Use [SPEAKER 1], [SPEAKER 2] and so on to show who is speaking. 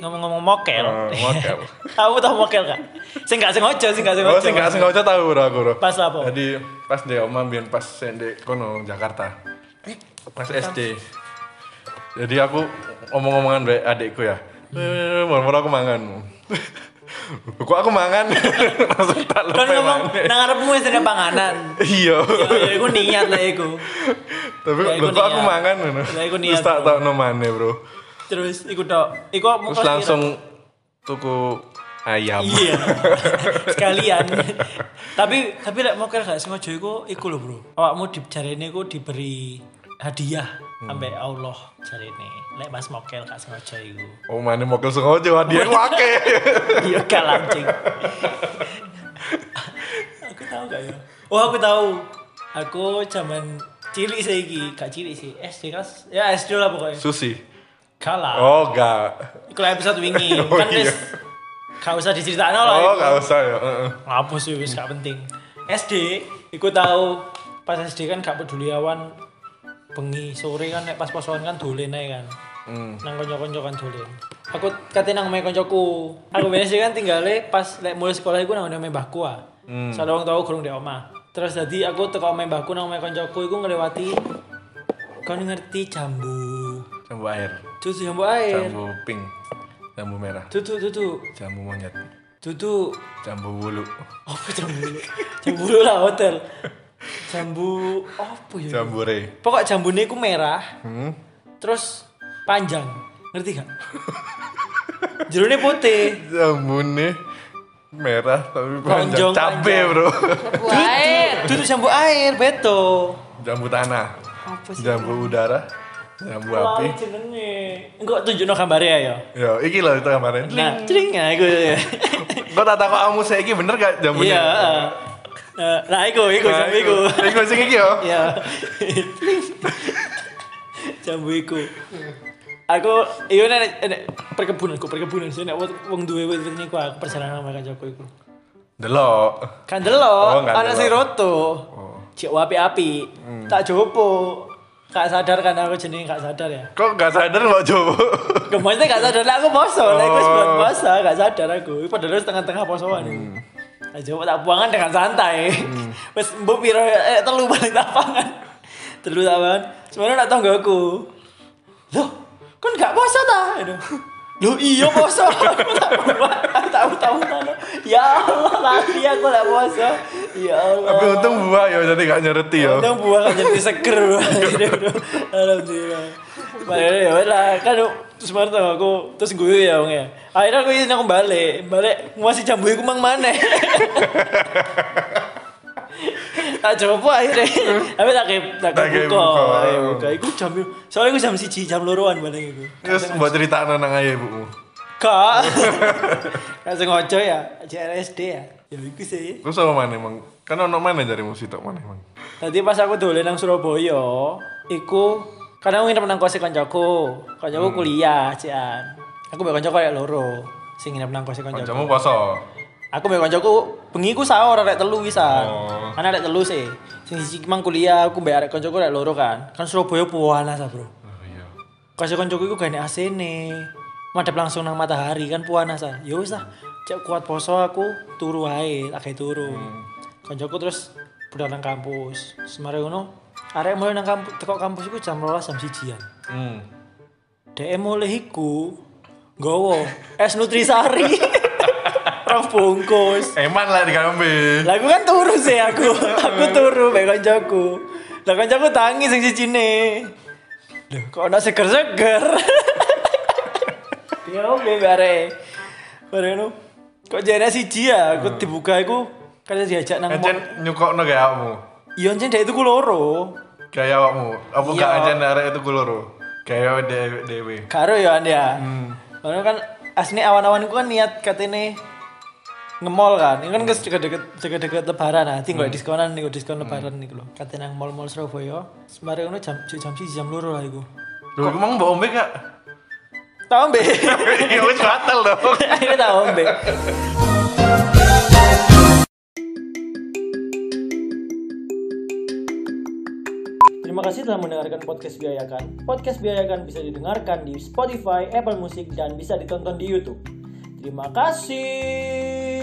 [SPEAKER 1] ngomong-ngomong mokel.
[SPEAKER 2] Eh, mokel.
[SPEAKER 1] Kamu tau mokel gak? Sing gak sengaja, sing gak sengaja.
[SPEAKER 2] Oh, sing gak sing gak usah tahu bro aku bro.
[SPEAKER 1] Pas lah, Po.
[SPEAKER 2] Jadi pas di oma biar pas di kono Jakarta.
[SPEAKER 1] Eh,
[SPEAKER 2] Pas SD. Jadi aku omong-omongan dari adikku ya. Eh, mau aku mangan. Kok aku mangan? Langsung
[SPEAKER 1] Kan
[SPEAKER 2] tak lepe
[SPEAKER 1] ngomong
[SPEAKER 2] mangan.
[SPEAKER 1] nang arepmu wis ada panganan.
[SPEAKER 2] Iya.
[SPEAKER 1] Ya iku niat lah iku.
[SPEAKER 2] Tapi
[SPEAKER 1] Ya, iku
[SPEAKER 2] lho kok aku
[SPEAKER 1] niat.
[SPEAKER 2] mangan ngono.
[SPEAKER 1] Ya, iku
[SPEAKER 2] Terus
[SPEAKER 1] niat,
[SPEAKER 2] tak
[SPEAKER 1] Bro.
[SPEAKER 2] tak nomane, Bro.
[SPEAKER 1] Terus iku tok. Iku mau
[SPEAKER 2] Terus langsung tuku ayam.
[SPEAKER 1] Iya. Sekalian. tapi tapi lek mokel gak sengaja iku iku lho, Bro. Awakmu di jarene iku diberi hadiah
[SPEAKER 2] Hmm.
[SPEAKER 1] sampai Allah jarene. Lek pas mokel gak sengaja iku.
[SPEAKER 2] Oh, mana mokel sengaja hadiah wake.
[SPEAKER 1] Iya gak lancing. aku tahu gak ya? Oh aku tahu. Aku zaman cilik saiki, gak cilik sih. SD kelas ya SD lah pokoknya.
[SPEAKER 2] Susi.
[SPEAKER 1] Kalah.
[SPEAKER 2] Oh, enggak.
[SPEAKER 1] Iku lah episode wingi
[SPEAKER 2] Oh,
[SPEAKER 1] kan
[SPEAKER 2] iya.
[SPEAKER 1] wis gak usah diceritakno lah.
[SPEAKER 2] Oh,
[SPEAKER 1] iku.
[SPEAKER 2] enggak usah ya. heeh.
[SPEAKER 1] Ngapus sih wis gak penting. SD, iku tahu pas SD kan gak peduli awan bengi sore kan nek pas posoan kan dolen ae kan.
[SPEAKER 2] Hmm.
[SPEAKER 1] Nang konco-konco kan dolen. Aku kate nang omahe koncoku. Aku biasanya kan tinggale pas lek mulai sekolah iku nang omahe mbahku ah.
[SPEAKER 2] Hmm.
[SPEAKER 1] Soalnya wong tau gurung di omah. Terus tadi aku teko omahe mbahku nang omahe koncoku iku ngelewati kon ngerti jambu.
[SPEAKER 2] Jambu air,
[SPEAKER 1] Cucu jambu air.
[SPEAKER 2] jambu pink, jambu merah,
[SPEAKER 1] Tutu tutu.
[SPEAKER 2] jambu monyet,
[SPEAKER 1] Tutu
[SPEAKER 2] jambu bulu,
[SPEAKER 1] apa jambu jambu dulu lah hotel jambu apa ya
[SPEAKER 2] jambu re.
[SPEAKER 1] pokok jambune ku merah
[SPEAKER 2] Hmm.
[SPEAKER 1] terus panjang ngerti gak jerone putih
[SPEAKER 2] Jambu nih merah tapi
[SPEAKER 1] Lonjong,
[SPEAKER 2] panjang cabe,
[SPEAKER 1] panjang.
[SPEAKER 2] Bro.
[SPEAKER 3] Wae.
[SPEAKER 1] duduk jambu air beto
[SPEAKER 2] Jambu tanah,
[SPEAKER 3] Apa sih?
[SPEAKER 2] jambu udara, jambu api.
[SPEAKER 1] Lali jenenge engko tunjukno gambare ya
[SPEAKER 2] Yo, iki lho itu kemarin.
[SPEAKER 1] nah cering ya iku
[SPEAKER 2] Kok tak takok kamu saiki bener gak jambunya?
[SPEAKER 1] iya eh. Eh, nah iku iku
[SPEAKER 2] Nah,
[SPEAKER 1] jambu
[SPEAKER 2] iku.
[SPEAKER 1] iku
[SPEAKER 2] Iku sing iki yo.
[SPEAKER 1] ya jambu iku aku iya nek nek perkebunan ku perkebunan sih nek wong- wong duwe wit wit niku aku perjalanan sama kancaku iku
[SPEAKER 2] Delok.
[SPEAKER 1] kan delok
[SPEAKER 2] Oh, Hmm. nggak
[SPEAKER 1] ana
[SPEAKER 2] delok.
[SPEAKER 1] sing roto cek api-api tak jopo gak sadar kan aku jenenge gak sadar ya
[SPEAKER 2] Kok gak sadar mau coba?
[SPEAKER 1] Kemarin gak sadar lah aku poso, lah aku
[SPEAKER 2] Oh.
[SPEAKER 1] sebulan puasa gak sadar aku. Padahal harus tengah-tengah posoan. Nah, coba tak buangan dengan santai. Wes mbok piro eh telu balik lapangan. Telu lapangan. Sebenarnya nak tanggaku. Loh, kan gak poso ta? Aduh. Loh iya poso. Aku tak buang, aku tak tahu tahu. Ya Allah, lali aku gak poso. Ya Allah.
[SPEAKER 2] Tapi untung buah yo jadi gak nyereti yo.
[SPEAKER 1] Kadang buah kan jadi seger Bro. Jadi, bro, Alhamdulillah Padahal ya wes lah Kan terus kemarin tau aku Terus gue ya wong ya Akhirnya aku izin aku balik Balik Masih jambu aku mang mana Tak coba akhirnya Tapi tak kayak Tak
[SPEAKER 2] Tak
[SPEAKER 1] kayak
[SPEAKER 2] kayak
[SPEAKER 1] buka
[SPEAKER 2] buka.
[SPEAKER 1] tak kayak buka Iku jam Soalnya aku jam siji Jam loroan balik aku
[SPEAKER 2] Terus buat cerita nang ayah ibumu.
[SPEAKER 1] Kak Gak sengaja ya JLSD ya Ya itu sih
[SPEAKER 2] Terus sama mana emang? Kan ono mana dari musik tok mana emang?
[SPEAKER 1] Tadi pas aku dolen nang Surabaya, iku karena aku nginep nang kose kancaku. Kancaku
[SPEAKER 2] Hmm.
[SPEAKER 1] kuliah, cian. Aku mbek kancaku arek loro sing nginep nang kose kancaku.
[SPEAKER 2] Kancamu poso.
[SPEAKER 1] Aku mbek kancaku bengi ku sahur arek telu wisan.
[SPEAKER 2] Oh.
[SPEAKER 1] Karena arek telu sih. Sing siji mang kuliah, aku mbek arek kancaku arek loro kan. Kan Surabaya puanas ah, Bro.
[SPEAKER 2] Oh iya.
[SPEAKER 1] Kose kancaku iku gane asene. Madep langsung nang matahari kan puanas ah. Ya wis lah, cek kuat poso aku turu wae, agak turu. Kancaku terus budal nang kampus. Semarang ngono, arek mulai nang kampus, teko kampus iku jam 12 jam 1-an.
[SPEAKER 2] Hmm.
[SPEAKER 1] Dek mulai iku nggawa es nutrisari. Rong bungkus.
[SPEAKER 2] Eman lah di kambe.
[SPEAKER 1] Lah aku kan turu sih aku. aku turu mbek kancaku. Lah kancaku tangi sing sijine. Loh, kok ana seger-seger. Dia ngombe bare. Bare no. Kok jane siji ya aku dibuka iku kan diajak nang
[SPEAKER 2] Ancen nyukokno gayamu.
[SPEAKER 1] Iya jen dek itu ku loro.
[SPEAKER 2] Gaya awakmu. Apa
[SPEAKER 1] Iya.
[SPEAKER 2] gak ancen arek itu kuloro? Gaya de- dewe.
[SPEAKER 1] Karo ya anda ya. Karena kan asli awan-awanku kan niat katene ngemol kan. Ini kan kes juga deket juga deket lebaran nah. Tinggal diskonan nih, diskon lebaran nih loh. Katene nang mall-mall Surabaya. Semarang itu jam jam sih jam loro lah iku.
[SPEAKER 2] Lu emang mbok ombe gak?
[SPEAKER 1] Tahu mbe.
[SPEAKER 2] Ya wis batal dong.
[SPEAKER 1] Akhirnya tahu mbe. Terima kasih telah mendengarkan podcast Biayakan. Podcast Biayakan bisa didengarkan di Spotify, Apple Music, dan bisa ditonton di YouTube. Terima kasih.